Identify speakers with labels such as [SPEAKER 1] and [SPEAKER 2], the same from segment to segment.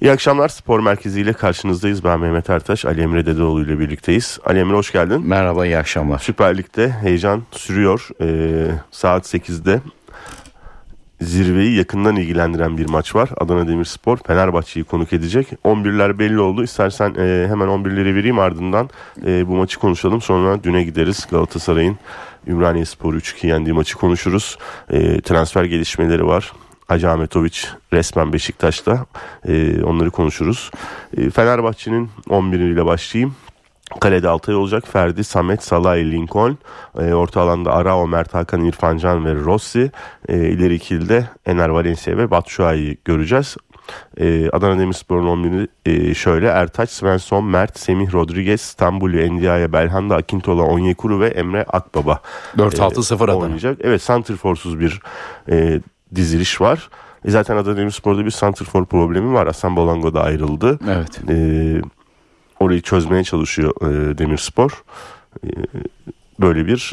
[SPEAKER 1] İyi akşamlar spor merkeziyle karşınızdayız. Ben Mehmet Ertaş, Ali Emre Dedeoğlu ile birlikteyiz. Ali Emre hoş geldin.
[SPEAKER 2] Merhaba iyi akşamlar.
[SPEAKER 1] Süper Lig'de heyecan sürüyor. Ee, saat 8'de zirveyi yakından ilgilendiren bir maç var. Adana Demirspor Fenerbahçe'yi konuk edecek. 11'ler belli oldu. İstersen e, hemen 11'leri vereyim ardından e, bu maçı konuşalım. Sonra düne gideriz. Galatasaray'ın Ümraniyesporu 3-2 yendiği maçı konuşuruz. E, transfer gelişmeleri var. Hacı Ahmetoviç resmen Beşiktaş'ta. E, onları konuşuruz. E, Fenerbahçe'nin 11'iyle başlayayım. Kalede Altay olacak. Ferdi, Samet, Salah, Lincoln. E, orta alanda Arao, Mert Hakan, İrfan Can ve Rossi. E, ileri ikilide Ener Valencia ve Batshuayi'yi göreceğiz. E, Adana Demirspor'un 11'i e, şöyle. Ertaç, Svensson, Mert, Semih, Rodriguez, Stambulü, Ndiaye, Belhanda, Akintola, Onyekuru ve Emre Akbaba.
[SPEAKER 2] 4-6-0 Adana.
[SPEAKER 1] Oynayacak. Evet, santrforsuz bir e, diziliş var. E, zaten Adana Demirspor'da bir santrfor problemi var. Hasan Bolango da ayrıldı.
[SPEAKER 2] Evet.
[SPEAKER 1] E, orayı çözmeye çalışıyor e, Demirspor. E, böyle bir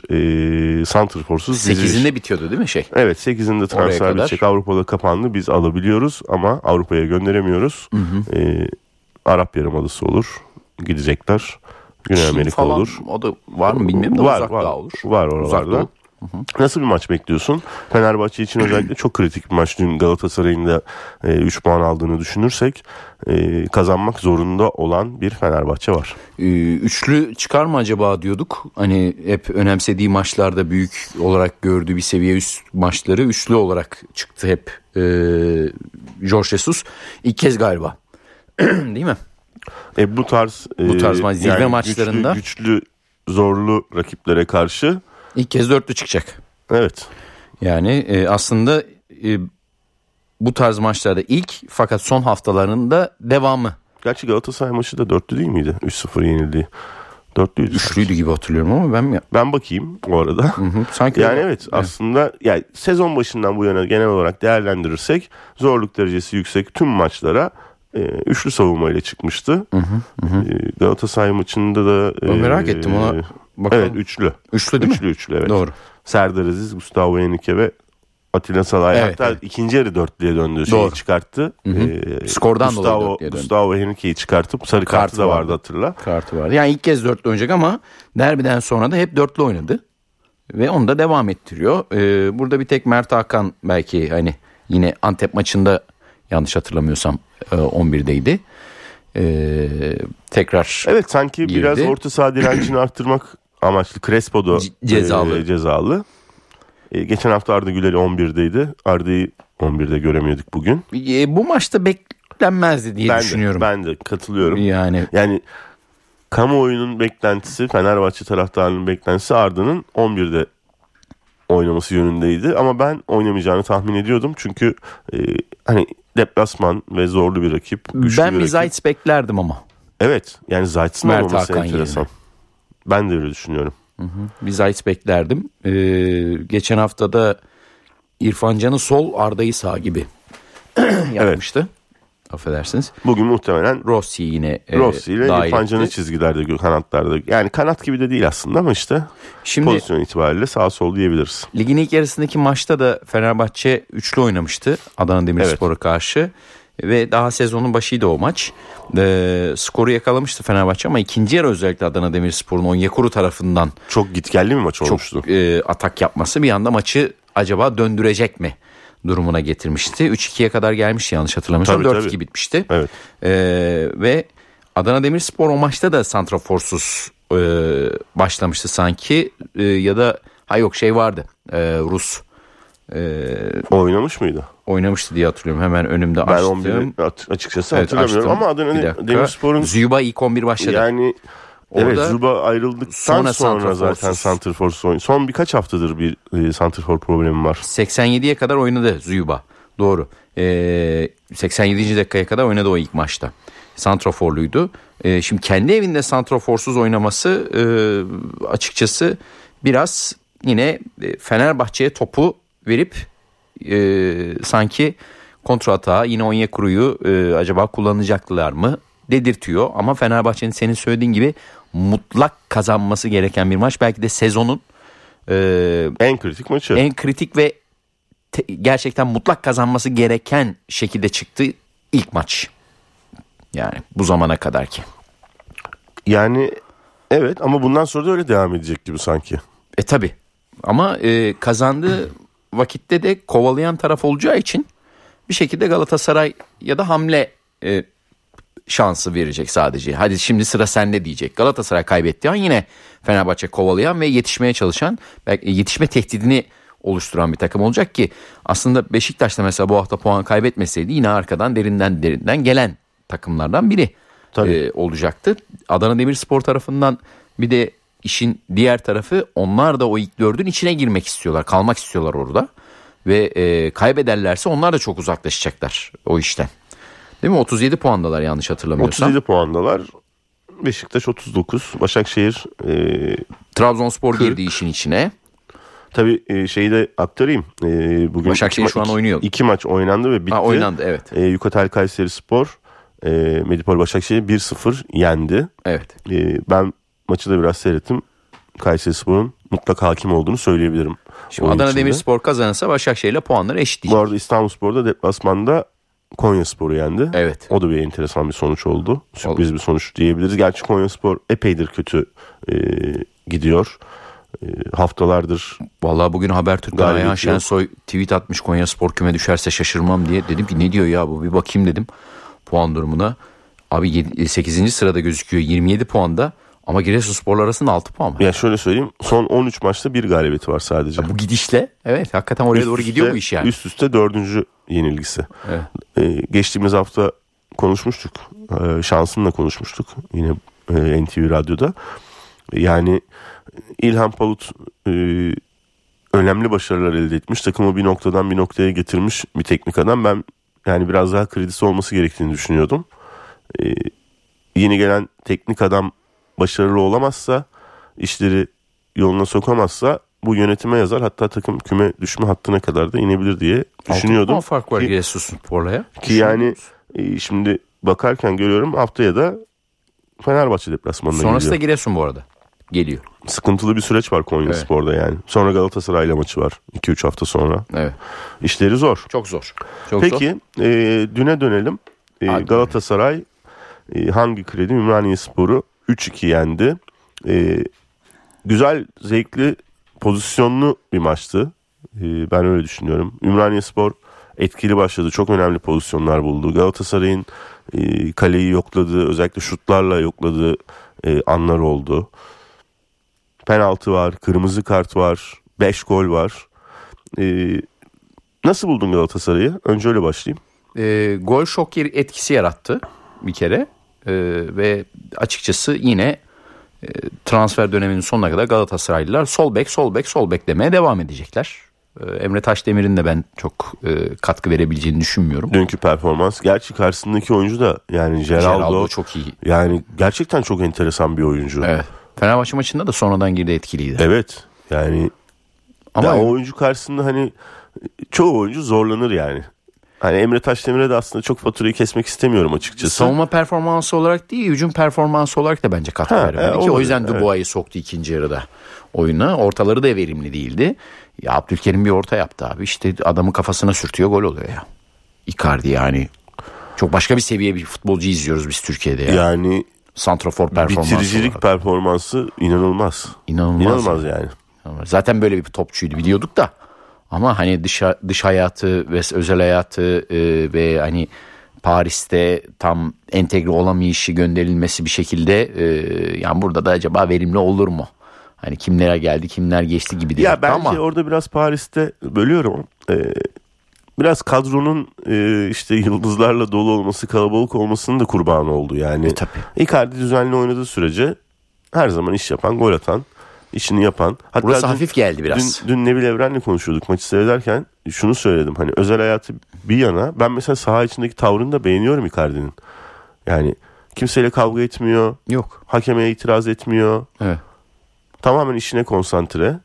[SPEAKER 1] e, santrforsuz diziliş.
[SPEAKER 2] 8'inde bitiyordu değil mi şey?
[SPEAKER 1] Evet 8'inde transfer
[SPEAKER 2] kadar.
[SPEAKER 1] bitecek. Avrupa'da kapandı. Biz alabiliyoruz ama Avrupa'ya gönderemiyoruz. E, Arap Yarımadası olur. Gidecekler. Güney
[SPEAKER 2] Çin
[SPEAKER 1] Amerika
[SPEAKER 2] falan,
[SPEAKER 1] olur.
[SPEAKER 2] O da var mı bilmiyorum da
[SPEAKER 1] var,
[SPEAKER 2] uzak
[SPEAKER 1] var,
[SPEAKER 2] daha olur.
[SPEAKER 1] Var
[SPEAKER 2] Uzak
[SPEAKER 1] oralarda.
[SPEAKER 2] doğu.
[SPEAKER 1] Nasıl bir maç bekliyorsun? Fenerbahçe için özellikle çok kritik bir maç. Dün Galatasaray'ın da 3 puan aldığını düşünürsek e, kazanmak zorunda olan bir Fenerbahçe var.
[SPEAKER 2] Ee, Üçlü çıkar mı acaba diyorduk. Hani hep önemsediği maçlarda büyük olarak gördüğü bir seviye üst maçları üçlü olarak çıktı hep. Ee, Jorge Jesus ilk kez galiba. değil mi?
[SPEAKER 1] E, bu tarz
[SPEAKER 2] Bu tarz
[SPEAKER 1] e,
[SPEAKER 2] maç- zirve maçlarında-
[SPEAKER 1] güçlü, güçlü, zorlu rakiplere karşı
[SPEAKER 2] İlk kez dörtlü çıkacak.
[SPEAKER 1] evet
[SPEAKER 2] Yani e, aslında e, bu tarz maçlarda ilk fakat son haftalarında devamı.
[SPEAKER 1] Gerçi Galatasaray maçı da dörtlü değil miydi? 3-0 yenildi. Dörtlüydü.
[SPEAKER 2] Üçlüydü gibi hatırlıyorum ama ben mi?
[SPEAKER 1] Ben bakayım bu arada.
[SPEAKER 2] Hı, Sanki
[SPEAKER 1] Yani evet aslında yani sezon başından bu yana genel olarak değerlendirirsek zorluk derecesi yüksek tüm maçlara e, üçlü savunmayla çıktı. E, Galatasaray maçında da e,
[SPEAKER 2] Ben merak ettim ona. Bakalım.
[SPEAKER 1] Evet üçlü.
[SPEAKER 2] Üçlü değil mi?
[SPEAKER 1] Üçlü üçlü evet.
[SPEAKER 2] Doğru.
[SPEAKER 1] Serdar Aziz, Gustavo Henrique ve Atilla Salay.
[SPEAKER 2] Evet,
[SPEAKER 1] Hatta
[SPEAKER 2] evet.
[SPEAKER 1] ikinci yarı dörtlüye döndü. Şeyi
[SPEAKER 2] Doğru.
[SPEAKER 1] çıkarttı. E,
[SPEAKER 2] Skordan dolayı
[SPEAKER 1] Gustavo,
[SPEAKER 2] dörtlüye döndü.
[SPEAKER 1] Gustavo Henrique'yi çıkartıp sarı kartı,
[SPEAKER 2] Kartı
[SPEAKER 1] da vardı
[SPEAKER 2] vardı.
[SPEAKER 1] hatırla.
[SPEAKER 2] Kartı vardı. Yani ilk kez dörtlü oynayacak ama derbiden sonra da hep dörtlü oynadı. Ve onu da devam ettiriyor. Ee, burada bir tek Mert Hakan belki hani yine Antep maçında yanlış hatırlamıyorsam e, 11'deydi. Ee, tekrar
[SPEAKER 1] Evet sanki
[SPEAKER 2] Girdi.
[SPEAKER 1] biraz orta saha direncini arttırmak amaçlı Crespo da
[SPEAKER 2] C- cezalı.
[SPEAKER 1] e, cezalı. E, geçen hafta Arda Güler'i 11'deydi. Arda'yı 11'de göremiyorduk bugün.
[SPEAKER 2] E, bu maçta beklenmezdi diye
[SPEAKER 1] ben
[SPEAKER 2] düşünüyorum.
[SPEAKER 1] de ben de katılıyorum.
[SPEAKER 2] Yani
[SPEAKER 1] Yani kamuoyunun beklentisi, Fenerbahçe taraftarının beklentisi Arda'nın 11'de oynaması yönündeydi. Ama ben oynamayacağını tahmin ediyordum. Çünkü e, hani deplasman ve zorlu bir rakip. Güçlü
[SPEAKER 2] ben
[SPEAKER 1] bir
[SPEAKER 2] bir
[SPEAKER 1] rakip.
[SPEAKER 2] Zayt beklerdim ama.
[SPEAKER 1] Evet yani Zayt'sın
[SPEAKER 2] Mert
[SPEAKER 1] olmaması
[SPEAKER 2] Hakan
[SPEAKER 1] enteresan. Ben de öyle düşünüyorum.
[SPEAKER 2] Bir Zayt beklerdim. E, geçen haftada İrfan Can'ı sol Arda'yı sağ gibi yapmıştı. Affedersiniz.
[SPEAKER 1] Bugün muhtemelen
[SPEAKER 2] Rossi yine e,
[SPEAKER 1] Rossi ile
[SPEAKER 2] dahil
[SPEAKER 1] İrfan Can'ı
[SPEAKER 2] etti.
[SPEAKER 1] çizgilerde gö- kanatlarda. Yani kanat gibi de değil aslında ama işte
[SPEAKER 2] Şimdi
[SPEAKER 1] pozisyon itibariyle sağ sol diyebiliriz.
[SPEAKER 2] ligin ilk yarısındaki maçta da Fenerbahçe üçlü oynamıştı Adana Demirspor'a karşı. Ve daha sezonun başıydı o maç. E, skoru yakalamıştı Fenerbahçe ama ikinci yarı özellikle Adana Demirspor'un Onyekuru tarafından
[SPEAKER 1] Çok gitgelli bir maç olmuştu.
[SPEAKER 2] çok e, atak yapması bir anda maçı acaba döndürecek mi durumuna getirmişti. 3-2'ye kadar gelmişti yanlış hatırlamıyorsam.
[SPEAKER 1] Tabii,
[SPEAKER 2] 4-2
[SPEAKER 1] tabii.
[SPEAKER 2] bitmişti.
[SPEAKER 1] Evet.
[SPEAKER 2] E, ve Adana Demirspor o maçta da santraforsuz e, başlamıştı sanki E, ya da ha yok şey vardı. E, Rus e,
[SPEAKER 1] Oynamış mıydı?
[SPEAKER 2] oynamıştı diye hatırlıyorum. Hemen önümde
[SPEAKER 1] Ben
[SPEAKER 2] açtım.
[SPEAKER 1] 11'i at- açıkçası
[SPEAKER 2] Evet,
[SPEAKER 1] hatırlamıyorum
[SPEAKER 2] açtım.
[SPEAKER 1] ama
[SPEAKER 2] Bir
[SPEAKER 1] Adana
[SPEAKER 2] dakika.
[SPEAKER 1] Demirspor'un
[SPEAKER 2] Züba ilk 11 başladı.
[SPEAKER 1] yani
[SPEAKER 2] Orada
[SPEAKER 1] evet Zuba ayrıldıktan sonra,
[SPEAKER 2] sonra
[SPEAKER 1] zaten
[SPEAKER 2] santraforsuz.
[SPEAKER 1] santrforsuz oyun. Son birkaç haftadır bir e, santrfor problemi var.
[SPEAKER 2] 87'ye kadar oynadı Züba. Doğru. Ee, 87. dakikaya kadar oynadı o ilk maçta. Santraforluydu. Ee, şimdi kendi evinde santraforsuz oynaması e, açıkçası biraz yine e, Fenerbahçe'ye topu verip e, sanki kontra atağa yine Onyekuru'yu e, acaba kullanacaklar mı dedirtiyor. Ama Fenerbahçe'nin senin söylediğin gibi mutlak kazanması gereken bir maç. Belki de sezonun e,
[SPEAKER 1] En kritik maçı.
[SPEAKER 2] en kritik ve te- gerçekten mutlak kazanması gereken şekilde çıktı ilk maç. Yani bu zamana kadar ki.
[SPEAKER 1] Yani evet ama bundan sonra da öyle devam edecek gibi sanki.
[SPEAKER 2] E tabi ama e, kazandığı vakitte de kovalayan taraf olacağı için bir şekilde Galatasaray ya da hamle e, şansı verecek sadece. Hadi şimdi sıra sende diyecek. Galatasaray kaybettiği an yine Fenerbahçe kovalayan ve yetişmeye çalışan belki yetişme tehdidini oluşturan bir takım olacak ki aslında Beşiktaş'ta mesela bu hafta puan kaybetmeseydi yine arkadan derinden derinden gelen takımlardan biri
[SPEAKER 1] Tabii.
[SPEAKER 2] e, olacaktı. Adana Demirspor tarafından bir de işin diğer tarafı onlar da o ilk dördün içine girmek istiyorlar. Kalmak istiyorlar orada. Ve e, kaybederlerse onlar da çok uzaklaşacaklar o işten. Değil mi? 37 puandalar yanlış hatırlamıyorsam.
[SPEAKER 1] 37 puandalar. Beşiktaş 39, Başakşehir e,
[SPEAKER 2] Trabzonspor
[SPEAKER 1] 40.
[SPEAKER 2] girdi işin içine.
[SPEAKER 1] Tabii e, şeyi de aktarayım. E, bugün
[SPEAKER 2] Başakşehir
[SPEAKER 1] iki ma-
[SPEAKER 2] şu an
[SPEAKER 1] iki-
[SPEAKER 2] oynuyor.
[SPEAKER 1] iki maç oynandı ve bitti.
[SPEAKER 2] Ha, oynandı evet.
[SPEAKER 1] E, Yukatel Kayseri Spor, e, Medipol Başakşehir 1-0 yendi.
[SPEAKER 2] Evet.
[SPEAKER 1] E, ben maçı da biraz seyrettim. Kayseri Spor'un mutlak hakim olduğunu söyleyebilirim.
[SPEAKER 2] Şimdi
[SPEAKER 1] oyun
[SPEAKER 2] Adana
[SPEAKER 1] içinde.
[SPEAKER 2] Demirspor kazanırsa Başakşehir'le puanları eşitleyecek.
[SPEAKER 1] Bu arada İstanbul Spor'da deplasmanda Konya Spor'u yendi.
[SPEAKER 2] Evet.
[SPEAKER 1] O da bir enteresan bir sonuç oldu. Sürpriz bir sonuç diyebiliriz. Gerçi Konya Spor epeydir kötü e, gidiyor. E, haftalardır
[SPEAKER 2] Vallahi bugün Habertürk'ten
[SPEAKER 1] Galibiyet
[SPEAKER 2] Ayhan
[SPEAKER 1] yok.
[SPEAKER 2] Şensoy tweet atmış Konya Spor küme düşerse şaşırmam diye. Dedim ki ne diyor ya bu bir bakayım dedim puan durumuna. Abi 8. sırada gözüküyor 27 puanda ama Giresunspor'la arasında 6 puan var.
[SPEAKER 1] ya şöyle söyleyeyim son 13 maçta bir galibiyeti var sadece.
[SPEAKER 2] Bu gidişle evet hakikaten oraya
[SPEAKER 1] Üst
[SPEAKER 2] doğru
[SPEAKER 1] üste-
[SPEAKER 2] gidiyor bu iş yani.
[SPEAKER 1] Üst üste dördüncü yenilgisi.
[SPEAKER 2] Evet.
[SPEAKER 1] Ee, geçtiğimiz hafta konuşmuştuk. Ee, şansınla konuşmuştuk. Yine e, NTV Radyo'da. E, Yani İlhan Palut e, önemli başarılar elde etmiş. Takımı bir noktadan bir noktaya getirmiş bir teknik adam. Ben yani biraz daha kredisi olması gerektiğini düşünüyordum. Ee, yeni gelen teknik adam başarılı olamazsa işleri yoluna sokamazsa bu yönetime yazar hatta takım küme düşme hattına kadar da inebilir diye düşünüyordum.
[SPEAKER 2] Puan fark var
[SPEAKER 1] Ki-
[SPEAKER 2] Giresunspor'la ya.
[SPEAKER 1] Ki yani e, şimdi bakarken görüyorum haftaya da Fenerbahçe deplasmanına
[SPEAKER 2] Sonrası da
[SPEAKER 1] geliyor.
[SPEAKER 2] Giresun bu arada. Geliyor.
[SPEAKER 1] Sıkıntılı bir süreç var Konya
[SPEAKER 2] Evet.
[SPEAKER 1] Spor'da yani. Sonra Galatasaray'la maçı var 2-3 hafta sonra.
[SPEAKER 2] Evet.
[SPEAKER 1] İşleri zor.
[SPEAKER 2] Çok zor. Çok zor.
[SPEAKER 1] Peki e, düne dönelim. E,
[SPEAKER 2] Hadi.
[SPEAKER 1] Galatasaray e, hangi kredi? Ümraniye Sporu 3-2 yendi. E, güzel, zevkli, pozisyonlu bir maçtı. E, ben öyle düşünüyorum. Ümraniye Spor etkili başladı. Çok önemli pozisyonlar buldu. Galatasaray'ın e, kaleyi yokladığı, özellikle şutlarla yokladığı e, anlar oldu. Penaltı var, kırmızı kart var, 5 gol var. E, Nasıl buldun Galatasaray'ı? Önce öyle başlayayım.
[SPEAKER 2] e, gol şok yeri- etkisi yarattı bir kere E, ve açıkçası yine e, transfer döneminin sonuna kadar Galatasaraylılar sol bek sol bek sol bek demeye devam edecekler. E, Emre Taşdemir'in de ben çok e, katkı verebileceğini düşünmüyorum.
[SPEAKER 1] Dünkü performans. Gerçi karşısındaki oyuncu da yani Geraldo,
[SPEAKER 2] Geraldo çok iyi.
[SPEAKER 1] yani gerçekten çok enteresan bir oyuncu.
[SPEAKER 2] Evet. Fenerbahçe maçında da sonradan girdi etkiliydi.
[SPEAKER 1] Evet. Yani
[SPEAKER 2] Ama
[SPEAKER 1] ya o oyuncu karşısında hani çoğu oyuncu zorlanır yani. Hani Emre Taşdemir'e de aslında çok faturayı kesmek istemiyorum açıkçası.
[SPEAKER 2] E, savunma performansı olarak değil, hücum performansı olarak da bence katkı
[SPEAKER 1] Ha,
[SPEAKER 2] veremedi
[SPEAKER 1] e,
[SPEAKER 2] ki. o
[SPEAKER 1] olabilir,
[SPEAKER 2] yüzden Dubois'u soktu ikinci yarıda oyuna. Ortaları da verimli değildi. Ya Abdülkerim bir orta yaptı abi. İşte adamın kafasına sürtüyor gol oluyor ya. Icardi yani. Çok başka bir seviye bir futbolcu izliyoruz biz Türkiye'de ya.
[SPEAKER 1] Yani
[SPEAKER 2] Santrafor performansı
[SPEAKER 1] bitiricilik
[SPEAKER 2] olarak.
[SPEAKER 1] performansı inanılmaz.
[SPEAKER 2] İnanılmaz.
[SPEAKER 1] İnanılmaz yani.
[SPEAKER 2] Zaten böyle bir topçuydu biliyorduk da. Ama hani dış, dış hayatı ve özel hayatı e, ve hani Paris'te tam entegre olamayışı gönderilmesi bir şekilde e, yani burada da acaba verimli olur mu? Hani kimlere geldi kimler geçti gibi diye.
[SPEAKER 1] Ya bence
[SPEAKER 2] ama
[SPEAKER 1] orada biraz Paris'te bölüyorum. Ee, biraz kadronun e, işte yıldızlarla dolu olması, kalabalık olmasının da kurbanı oldu yani.
[SPEAKER 2] E, tabii.
[SPEAKER 1] Icardi düzenli oynadığı sürece her zaman iş yapan, gol atan, işini yapan. Hatta
[SPEAKER 2] burası
[SPEAKER 1] dün-
[SPEAKER 2] hafif geldi biraz.
[SPEAKER 1] Dün, dün Nebil Evren'le konuşuyorduk maçı seyrederken şunu söyledim hani özel hayatı bir yana ben mesela saha içindeki tavrını da beğeniyorum Icardi'nin. Yani kimseyle kavga etmiyor,
[SPEAKER 2] Yok.
[SPEAKER 1] hakeme itiraz etmiyor.
[SPEAKER 2] Evet.
[SPEAKER 1] Tamamen işine konsantre.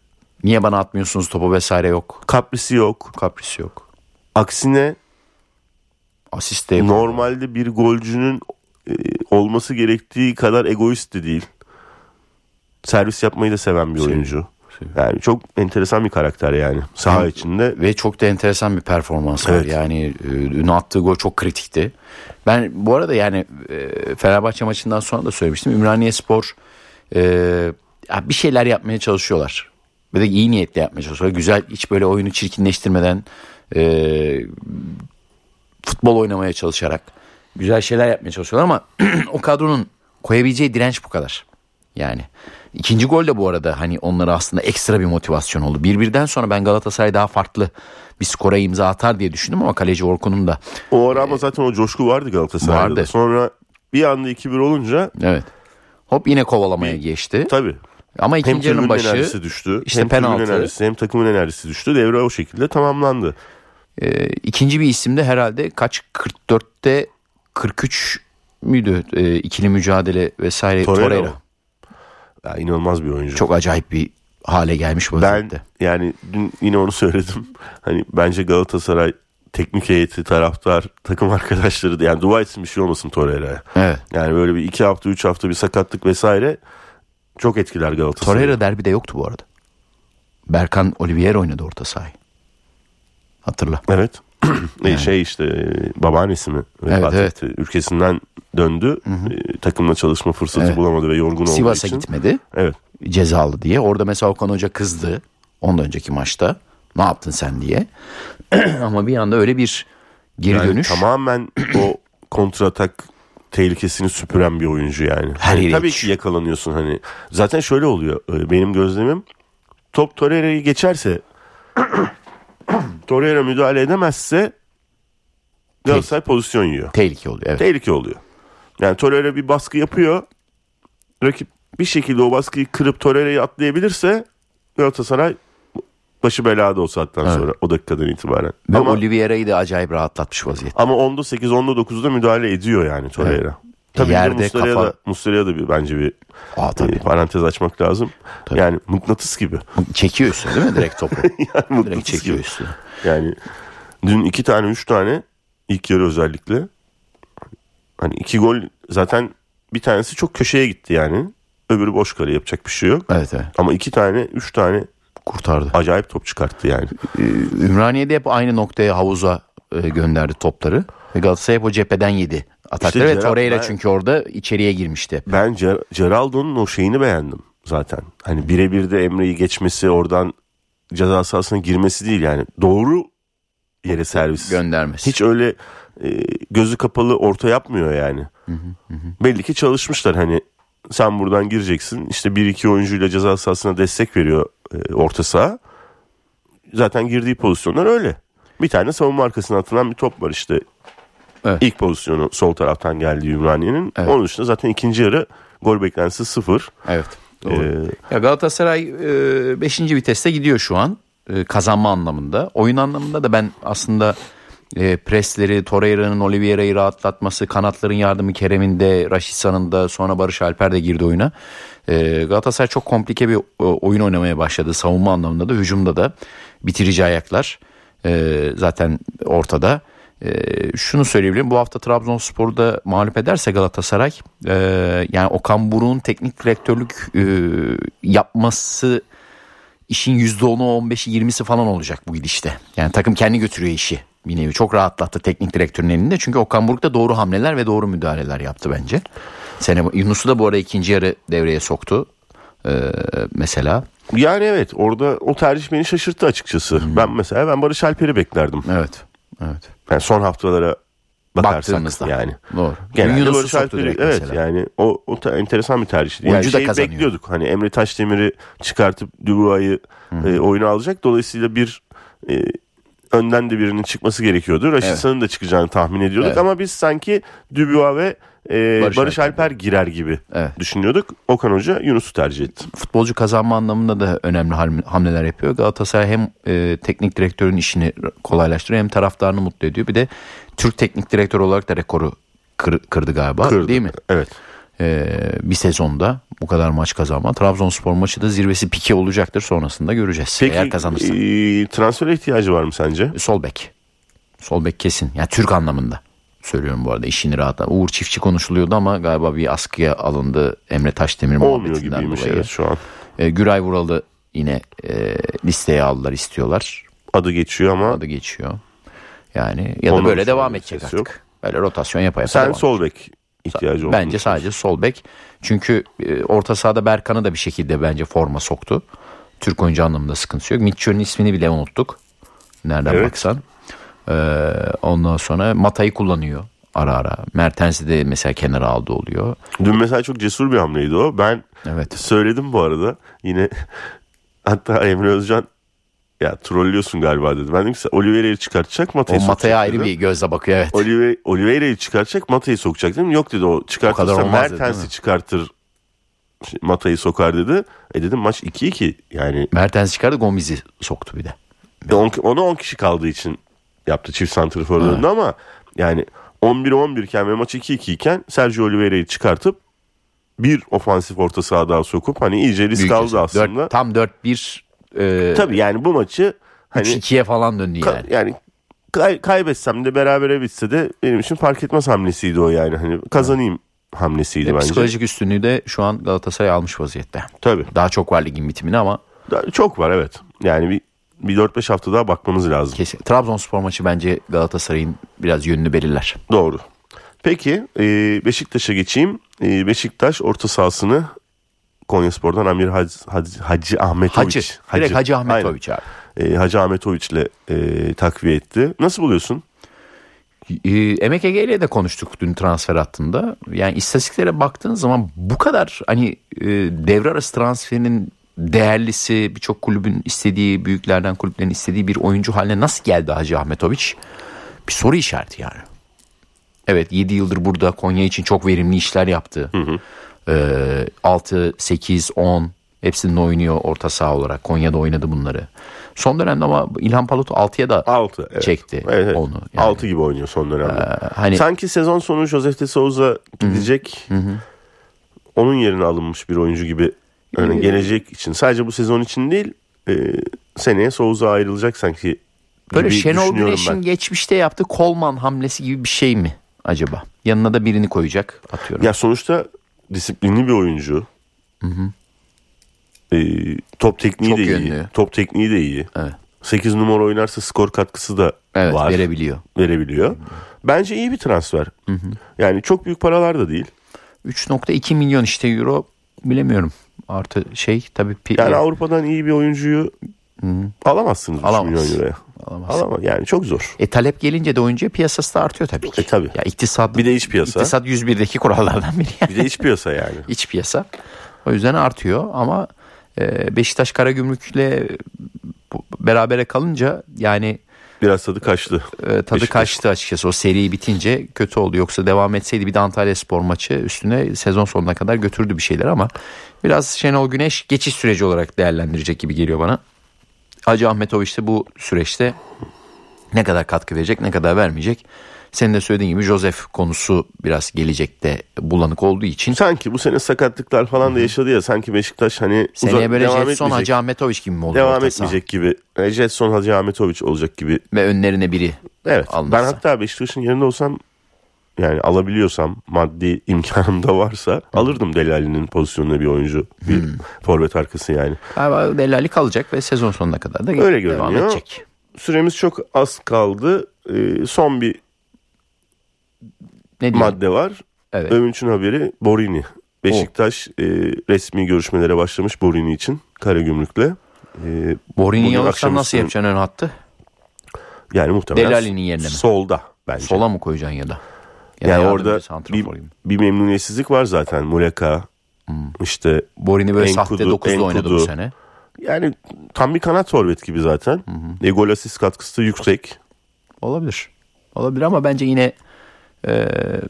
[SPEAKER 2] Niye bana atmıyorsunuz topu vesaire yok.
[SPEAKER 1] Kaprisi yok.
[SPEAKER 2] Kaprisi yok.
[SPEAKER 1] Aksine
[SPEAKER 2] Asist de yok.
[SPEAKER 1] normalde bir golcünün e, olması gerektiği kadar egoist de değil. Servis yapmayı da seven bir oyuncu.
[SPEAKER 2] seviyorum.
[SPEAKER 1] Yani çok enteresan bir karakter yani. Saha içinde
[SPEAKER 2] Ve çok da enteresan bir performans var.
[SPEAKER 1] Evet.
[SPEAKER 2] Yani e, dün attığı gol çok kritikti. Ben bu arada yani e, Fenerbahçe maçından sonra da söylemiştim. Ümraniye Spor e, ya bir şeyler yapmaya çalışıyorlar. Ve de iyi niyetle yapmaya çalışıyorlar. Güzel hiç böyle oyunu çirkinleştirmeden e, futbol oynamaya çalışarak güzel şeyler yapmaya çalışıyorlar ama o kadronun koyabileceği direnç bu kadar. Yani ikinci gol de bu arada hani onlara aslında ekstra bir motivasyon oldu. Bir birden sonra ben Galatasaray daha farklı bir skora imza atar diye düşündüm ama kaleci Orkun'un da
[SPEAKER 1] o ara ama zaten o coşku vardı Galatasaray'da. da.
[SPEAKER 2] Vardı.
[SPEAKER 1] Sonra bir anda 2-1 olunca
[SPEAKER 2] evet hop yine kovalamaya geçti.
[SPEAKER 1] tabii
[SPEAKER 2] Ama
[SPEAKER 1] hem
[SPEAKER 2] ikinci yarının
[SPEAKER 1] tribünün
[SPEAKER 2] başı
[SPEAKER 1] enerjisi düştü.
[SPEAKER 2] işte
[SPEAKER 1] hem tribünün
[SPEAKER 2] penaltı.
[SPEAKER 1] enerjisi hem takımın enerjisi düştü. Devre o şekilde tamamlandı.
[SPEAKER 2] e, ikinci bir isimde herhalde kaç 44'te 43 müydü e, ikili mücadele vesaire
[SPEAKER 1] Torreira
[SPEAKER 2] Torreira.
[SPEAKER 1] mı? Ya inanılmaz bir oyuncu.
[SPEAKER 2] Çok acayip bir hale gelmiş
[SPEAKER 1] ben
[SPEAKER 2] vaziyette.
[SPEAKER 1] yani dün yine onu söyledim. Hani bence Galatasaray teknik heyeti, taraftar, takım arkadaşları yani dua etsin bir şey olmasın Torreira'ya.
[SPEAKER 2] Evet.
[SPEAKER 1] Yani böyle bir iki hafta, üç hafta bir sakatlık vesaire çok etkiler Galatasaray'ı.
[SPEAKER 2] Torreira derbide yoktu bu arada. Berkan Olivier oynadı orta sahayı. Hatırla.
[SPEAKER 1] Evet. E, şey işte e, babaannesi mi vefat
[SPEAKER 2] Evet,
[SPEAKER 1] etti. Ülkesinden döndü. E, Takımla çalışma fırsatı
[SPEAKER 2] Evet.
[SPEAKER 1] bulamadı ve yorgun olduğu
[SPEAKER 2] Sivas'a
[SPEAKER 1] için.
[SPEAKER 2] gitmedi.
[SPEAKER 1] Evet.
[SPEAKER 2] Cezalı diye. Orada mesela Okan Hoca kızdı. Ondan önceki maçta. Ne yaptın sen diye. Ama bir anda öyle bir geri
[SPEAKER 1] Yani
[SPEAKER 2] dönüş.
[SPEAKER 1] tamamen o kontratak tehlikesini süpüren bir oyuncu yani.
[SPEAKER 2] Her
[SPEAKER 1] Hani
[SPEAKER 2] yere
[SPEAKER 1] tabii ki
[SPEAKER 2] yetişiyor.
[SPEAKER 1] yakalanıyorsun hani. Zaten şöyle oluyor e, benim gözlemim. Top Torreira'yı geçerse Torreira müdahale edemezse Galatasaray pozisyon yiyor.
[SPEAKER 2] Tehlike oluyor. Evet.
[SPEAKER 1] Tehlike oluyor. Yani Torreira bir baskı yapıyor. Rakip bir şekilde o baskıyı kırıp Torreira'yı atlayabilirse Galatasaray başı belada o saatten sonra o dakikadan itibaren.
[SPEAKER 2] Ve Oliviera'yı da acayip rahatlatmış vaziyette.
[SPEAKER 1] Ama 10'da 8, 10'da 9'da müdahale ediyor yani Torreira. Tabii
[SPEAKER 2] Yerde,
[SPEAKER 1] Yerde, Muslera'ya
[SPEAKER 2] kafa-
[SPEAKER 1] da, Muslera'ya da bir, bence bir
[SPEAKER 2] Aa, tabii.
[SPEAKER 1] e, parantez açmak lazım. Yani mıknatıs gibi.
[SPEAKER 2] Çekiyor üstüne değil mi direkt topu? direkt
[SPEAKER 1] mıknatıs
[SPEAKER 2] çekiyor
[SPEAKER 1] gibi.
[SPEAKER 2] üstüne.
[SPEAKER 1] Yani dün iki tane, üç tane ilk yarı özellikle. Hani iki gol zaten bir tanesi çok köşeye gitti yani. Öbürü boş kale yapacak bir şey yok.
[SPEAKER 2] Evet evet.
[SPEAKER 1] Ama iki tane, üç tane
[SPEAKER 2] Kurtardı.
[SPEAKER 1] acayip top çıkarttı yani.
[SPEAKER 2] Ümraniye'de hep aynı noktaya havuza e, gönderdi topları. Ve Galatasaray hep o cepheden yedi atakları.
[SPEAKER 1] İşte
[SPEAKER 2] ve
[SPEAKER 1] Gerard-
[SPEAKER 2] Torreira
[SPEAKER 1] ben-
[SPEAKER 2] çünkü orada içeriye girmişti.
[SPEAKER 1] Ben Ger- Geraldo'nun o şeyini beğendim zaten. Hani birebir de Emre'yi geçmesi oradan ceza sahasına girmesi değil yani. Doğru yere servis.
[SPEAKER 2] Göndermesi.
[SPEAKER 1] Hiç öyle e, gözü kapalı orta yapmıyor yani. Belli ki çalışmışlar hani sen buradan gireceksin. İşte bir iki oyuncuyla ceza sahasına destek veriyor e, orta saha. Zaten girdiği pozisyonlar öyle. Bir tane savunma arkasına atılan bir top var işte.
[SPEAKER 2] Evet.
[SPEAKER 1] İlk pozisyonu sol taraftan geldi Ümraniye'nin.
[SPEAKER 2] Evet.
[SPEAKER 1] Onun dışında zaten ikinci yarı gol beklentisi sıfır.
[SPEAKER 2] Evet. Doğru.
[SPEAKER 1] Ee,
[SPEAKER 2] Ya Galatasaray 5. viteste gidiyor şu an. E, kazanma anlamında. Oyun anlamında da ben aslında e, presleri, Torreira'nın Oliveira'yı rahatlatması, kanatların yardımı Kerem'in de, Raşitsa'nın da, sonra Barış Alper de girdi oyuna. E, Galatasaray çok komplike bir e, oyun oynamaya başladı. Savunma anlamında da, hücumda da. Bitirici ayaklar e, zaten ortada. E, şunu söyleyebilirim. Bu hafta Trabzonspor'u da mağlup ederse Galatasaray e, yani Okan Buruk'un teknik direktörlük e, yapması işin %10'u 15'i 20'si falan olacak bu gidişte. Yani takım kendi götürüyor işi bir nevi. Çok rahatlattı teknik direktörün elinde. Çünkü Okan Buruk da doğru hamleler ve doğru müdahaleler yaptı bence. Sene, Yunus'u da bu ara ikinci yarı devreye soktu. E, mesela.
[SPEAKER 1] Yani evet orada o tercih beni şaşırttı açıkçası. Ben mesela ben Barış Alper'i beklerdim.
[SPEAKER 2] Evet. Evet.
[SPEAKER 1] Yani son haftalara bakarsanız
[SPEAKER 2] Baktığımızda.
[SPEAKER 1] yani.
[SPEAKER 2] Doğru.
[SPEAKER 1] Genelde
[SPEAKER 2] Yunus'u
[SPEAKER 1] Barış
[SPEAKER 2] soktu
[SPEAKER 1] Alper'i-
[SPEAKER 2] direkt
[SPEAKER 1] evet
[SPEAKER 2] mesela.
[SPEAKER 1] yani o, o ta- enteresan bir tercihti. Yani
[SPEAKER 2] Oyuncu da
[SPEAKER 1] şeyi
[SPEAKER 2] kazanıyor.
[SPEAKER 1] bekliyorduk hani Emre Taşdemir'i çıkartıp Dubois'ı e, oyuna alacak. Dolayısıyla bir e, önden de birinin çıkması gerekiyordu. Raşitsa'nın da çıkacağını tahmin ediyorduk
[SPEAKER 2] Evet.
[SPEAKER 1] ama biz sanki Dubois ve e,
[SPEAKER 2] Barış
[SPEAKER 1] Barış, Alper girer gibi
[SPEAKER 2] Evet.
[SPEAKER 1] düşünüyorduk. Okan Hoca Yunus'u tercih etti.
[SPEAKER 2] futbolcu kazanma anlamında da önemli ham- hamleler yapıyor. Galatasaray hem e, teknik direktörün işini kolaylaştırıyor hem taraftarını mutlu ediyor. Bir de Türk teknik direktör olarak da rekoru kır- kırdı galiba
[SPEAKER 1] Kırdı.
[SPEAKER 2] değil mi?
[SPEAKER 1] Evet.
[SPEAKER 2] E, bir sezonda bu kadar maç kazanma. Trabzonspor maçı da zirvesi pike olacaktır sonrasında göreceğiz.
[SPEAKER 1] Peki
[SPEAKER 2] Eğer kazanırsa.
[SPEAKER 1] e, transfere ihtiyacı var mı sence?
[SPEAKER 2] Sol bek. Sol bek kesin. Ya Türk anlamında söylüyorum bu arada işini rahatla. Uğur Çiftçi konuşuluyordu ama galiba bir askıya alındı Emre Taşdemir
[SPEAKER 1] Olmuyor
[SPEAKER 2] muhabbetinden
[SPEAKER 1] gibiymiş
[SPEAKER 2] dolayı.
[SPEAKER 1] evet şu an.
[SPEAKER 2] E, Güray Vural'ı yine e, listeye aldılar istiyorlar.
[SPEAKER 1] Adı geçiyor ama
[SPEAKER 2] Adı geçiyor. Yani ya da
[SPEAKER 1] Ondan
[SPEAKER 2] böyle
[SPEAKER 1] sonra
[SPEAKER 2] devam
[SPEAKER 1] bir
[SPEAKER 2] edecek
[SPEAKER 1] ses
[SPEAKER 2] artık.
[SPEAKER 1] yok.
[SPEAKER 2] Böyle rotasyon yapa yapa
[SPEAKER 1] sen
[SPEAKER 2] devam.
[SPEAKER 1] sol bek ihtiyacı olduğunu
[SPEAKER 2] Bence sadece sol bek. Çünkü e, orta sahada Berkan'ı da bir şekilde bence forma soktu. Türk oyuncu anlamında sıkıntısı yok. Mitchell'in ismini bile unuttuk. Nereden
[SPEAKER 1] Evet.
[SPEAKER 2] baksan. Ee, ondan sonra Matay'ı kullanıyor ara ara. Mertens'i de mesela kenara aldı oluyor.
[SPEAKER 1] Dün mesela çok cesur bir hamleydi o. Ben
[SPEAKER 2] Evet.
[SPEAKER 1] söyledim bu arada. Yine hatta Emre Özcan ya trollüyorsun galiba dedi. Ben dedim ki sen Oliveira'yı çıkartacak Mata'yı
[SPEAKER 2] O Matay'a
[SPEAKER 1] sokacak
[SPEAKER 2] ayrı
[SPEAKER 1] dedim.
[SPEAKER 2] bir gözle bakıyor evet.
[SPEAKER 1] Olive- Oliveira'yı çıkartacak Mata'yı sokacak dedim. Yok dedi o
[SPEAKER 2] O kadar
[SPEAKER 1] çıkartırsa
[SPEAKER 2] olmaz dedi, değil
[SPEAKER 1] Mertens'i
[SPEAKER 2] mi?
[SPEAKER 1] çıkartır şey, Mata'yı sokar dedi. E dedim maç 2-2 yani
[SPEAKER 2] Mertens çıkardı Gomez'i soktu bir de.
[SPEAKER 1] E, on- ona 10 kişi kaldığı için yaptı çift santrafor döndü ama yani 11-11 iken ve maç 2-2 iken Sergio Oliveira'yı çıkartıp bir ofansif orta saha daha sokup hani iyice risk
[SPEAKER 2] Büyük
[SPEAKER 1] aldı
[SPEAKER 2] yaşam.
[SPEAKER 1] aslında.
[SPEAKER 2] Dört- tam 4-1 e,
[SPEAKER 1] Tabii yani bu maçı hani
[SPEAKER 2] 3-2'ye falan döndü
[SPEAKER 1] ka-
[SPEAKER 2] yani.
[SPEAKER 1] yani kay- kaybetsem de berabere bitse de benim için fark etmez hamlesiydi o yani. Hani kazanayım
[SPEAKER 2] E,
[SPEAKER 1] hamlesiydi bence.
[SPEAKER 2] Psikolojik üstünlüğü de şu an Galatasaray almış vaziyette.
[SPEAKER 1] Tabii.
[SPEAKER 2] Daha çok var ligin bitimine ama
[SPEAKER 1] Da- Çok var evet. Yani bir bir 4-5 hafta daha bakmamız lazım.
[SPEAKER 2] kesin. Trabzonspor maçı bence Galatasaray'ın biraz yönünü belirler.
[SPEAKER 1] Doğru. Peki e, Beşiktaş'a geçeyim. E, Beşiktaş orta sahasını Konyaspor'dan Amir Hacı, Hacı, Hacı Ahmetoviç.
[SPEAKER 2] Hacı. Direkt Hacı Ahmetoviç abi.
[SPEAKER 1] Aynen. E, Hacı Ahmetoviç'le e, takviye etti. Nasıl buluyorsun?
[SPEAKER 2] Ee, Emek Ege ile de konuştuk dün transfer hattında. Yani istatistiklere baktığın zaman bu kadar hani e, devre arası transferinin değerlisi birçok kulübün istediği büyüklerden kulüplerin istediği bir oyuncu haline nasıl geldi Hacı Ahmetoviç? Bir soru işareti yani. Evet 7 yıldır burada Konya için çok verimli işler yaptı. Ee, 6, 8, 10 hepsinde oynuyor orta saha olarak. Konya'da oynadı bunları. Son dönemde ama İlhan Palut 6'ya da
[SPEAKER 1] 6. Evet.
[SPEAKER 2] Çekti
[SPEAKER 1] Evet, evet.
[SPEAKER 2] onu yani.
[SPEAKER 1] 6 gibi oynuyor son dönemde.
[SPEAKER 2] hani-
[SPEAKER 1] Sanki sezon sonu Josef de Souza gidecek. Onun yerine alınmış bir oyuncu gibi. Yani gelecek için. Sadece bu sezon için değil. e, seneye Souza ayrılacak sanki.
[SPEAKER 2] Böyle
[SPEAKER 1] gibi
[SPEAKER 2] Şenol
[SPEAKER 1] düşünüyorum
[SPEAKER 2] Güneş'in
[SPEAKER 1] ben.
[SPEAKER 2] geçmişte yaptığı Kolman hamlesi gibi bir şey mi acaba? Yanına da birini koyacak atıyorum.
[SPEAKER 1] Ya sonuçta disiplinli bir oyuncu. Ee, top tekniği
[SPEAKER 2] Çok
[SPEAKER 1] de iyi.
[SPEAKER 2] yönlü.
[SPEAKER 1] Top tekniği de iyi.
[SPEAKER 2] Evet.
[SPEAKER 1] 8 numara oynarsa skor katkısı da
[SPEAKER 2] evet
[SPEAKER 1] var.
[SPEAKER 2] verebiliyor.
[SPEAKER 1] verebiliyor. Bence iyi bir transfer. Yani çok büyük paralar da değil.
[SPEAKER 2] 3.2 milyon işte euro bilemiyorum. Artı şey tabii pi-
[SPEAKER 1] Yani Avrupa'dan iyi bir oyuncuyu alamazsınız 3
[SPEAKER 2] Alamaz.
[SPEAKER 1] milyon euroya.
[SPEAKER 2] Alamaz.
[SPEAKER 1] Alamaz. Yani çok zor.
[SPEAKER 2] E talep gelince de oyuncuya piyasası da artıyor tabii ki.
[SPEAKER 1] E, tabii.
[SPEAKER 2] Ya iktisat
[SPEAKER 1] Bir de iç piyasa.
[SPEAKER 2] iktisat 101'deki kurallardan biri. yani.
[SPEAKER 1] Bir de iç piyasa yani.
[SPEAKER 2] iç piyasa. O yüzden artıyor ama e, Beşiktaş Karagümrük'le bu- berabere kalınca yani
[SPEAKER 1] Biraz tadı kaçtı.
[SPEAKER 2] E, tadı
[SPEAKER 1] Beşiktaş.
[SPEAKER 2] kaçtı açıkçası. O seri bitince kötü oldu. Yoksa devam etseydi bir de Antalya Spor maçı üstüne sezon sonuna kadar götürdü bir şeyler ama biraz Şenol Güneş geçiş süreci olarak değerlendirecek gibi geliyor bana. Hacı Ahmetoviç de bu süreçte ne kadar katkı verecek ne kadar vermeyecek. Senin de söylediğin gibi Josef konusu biraz gelecekte bulanık olduğu için
[SPEAKER 1] Sanki bu sene sakatlıklar falan da yaşadı ya. Sanki Beşiktaş hani
[SPEAKER 2] seneye
[SPEAKER 1] uzak,
[SPEAKER 2] böyle
[SPEAKER 1] devam
[SPEAKER 2] Jetson
[SPEAKER 1] etmeyecek.
[SPEAKER 2] Hacı Ahmetoviç gibi mi oluyor?
[SPEAKER 1] devam
[SPEAKER 2] orta saha?
[SPEAKER 1] etmeyecek gibi. E, Jetson Hacı Ahmetoviç olacak gibi.
[SPEAKER 2] Ve önlerine biri
[SPEAKER 1] Evet.
[SPEAKER 2] alınırsa.
[SPEAKER 1] Ben hatta Beşiktaş'ın yerinde olsam yani alabiliyorsam maddi imkanım da varsa alırdım Delali'nin pozisyonuna bir oyuncu. Bir forvet arkası yani.
[SPEAKER 2] Galiba Delali kalacak ve sezon sonuna kadar da
[SPEAKER 1] Öyle
[SPEAKER 2] devam
[SPEAKER 1] görünüyor.
[SPEAKER 2] edecek.
[SPEAKER 1] Süremiz çok az kaldı. Ee, son bir
[SPEAKER 2] Ne diyeyim?
[SPEAKER 1] madde var.
[SPEAKER 2] Evet. Oh.
[SPEAKER 1] Övünç'ün haberi Borini. Beşiktaş e, resmi görüşmelere başlamış Borini için Karagümrük'le. E,
[SPEAKER 2] Borini
[SPEAKER 1] Bugün
[SPEAKER 2] alırsan
[SPEAKER 1] akşamüstü- şey.
[SPEAKER 2] nasıl yapacaksın ön hattı?
[SPEAKER 1] yani muhtemelen
[SPEAKER 2] Delali'nin yerine mi?
[SPEAKER 1] solda bence.
[SPEAKER 2] Sola mı koyacaksın ya da? Ya
[SPEAKER 1] Yani
[SPEAKER 2] yardımcı
[SPEAKER 1] orada bir,
[SPEAKER 2] santrafor gibi.
[SPEAKER 1] bir memnuniyetsizlik var zaten. Muleka
[SPEAKER 2] Hmm.
[SPEAKER 1] işte
[SPEAKER 2] Borini böyle
[SPEAKER 1] Enkudu,
[SPEAKER 2] sahte 9'da oynadı bu
[SPEAKER 1] Enkudu.
[SPEAKER 2] sene.
[SPEAKER 1] yani tam bir kanat forvet gibi zaten. E, gol asist katkısı da yüksek.
[SPEAKER 2] Olabilir. Olabilir ama bence yine e,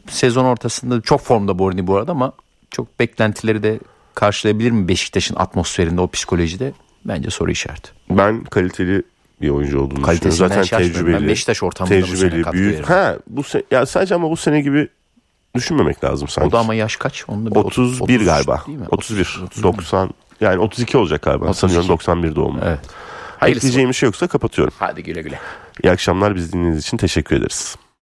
[SPEAKER 2] sezon ortasında çok formda Borini bu arada ama çok beklentileri de karşılayabilir mi Beşiktaş'ın atmosferinde o psikolojide? Bence soru işareti.
[SPEAKER 1] Ben kaliteli bir oyuncu olduğunu
[SPEAKER 2] Kalitesinden
[SPEAKER 1] düşünüyorum. Zaten
[SPEAKER 2] şey açmıyorum. Ben
[SPEAKER 1] tecrübeli.
[SPEAKER 2] Beşiktaş ortamında bu sene katkı veririm.
[SPEAKER 1] Ha bu se- ya sadece ama bu sene gibi düşünmemek lazım sanki.
[SPEAKER 2] O da ama yaş kaç? Onun da bir ot-
[SPEAKER 1] 31
[SPEAKER 2] otuz
[SPEAKER 1] galiba.
[SPEAKER 2] Değil mi?
[SPEAKER 1] 31. 90 yani 32 olacak galiba.
[SPEAKER 2] 32.
[SPEAKER 1] Sanıyorum 91 doğumlu.
[SPEAKER 2] Evet. Hayırlısı.
[SPEAKER 1] Ekleyeceğim bir şey yoksa kapatıyorum.
[SPEAKER 2] Hadi güle güle.
[SPEAKER 1] İyi akşamlar. Biz dinlediğiniz için teşekkür ederiz.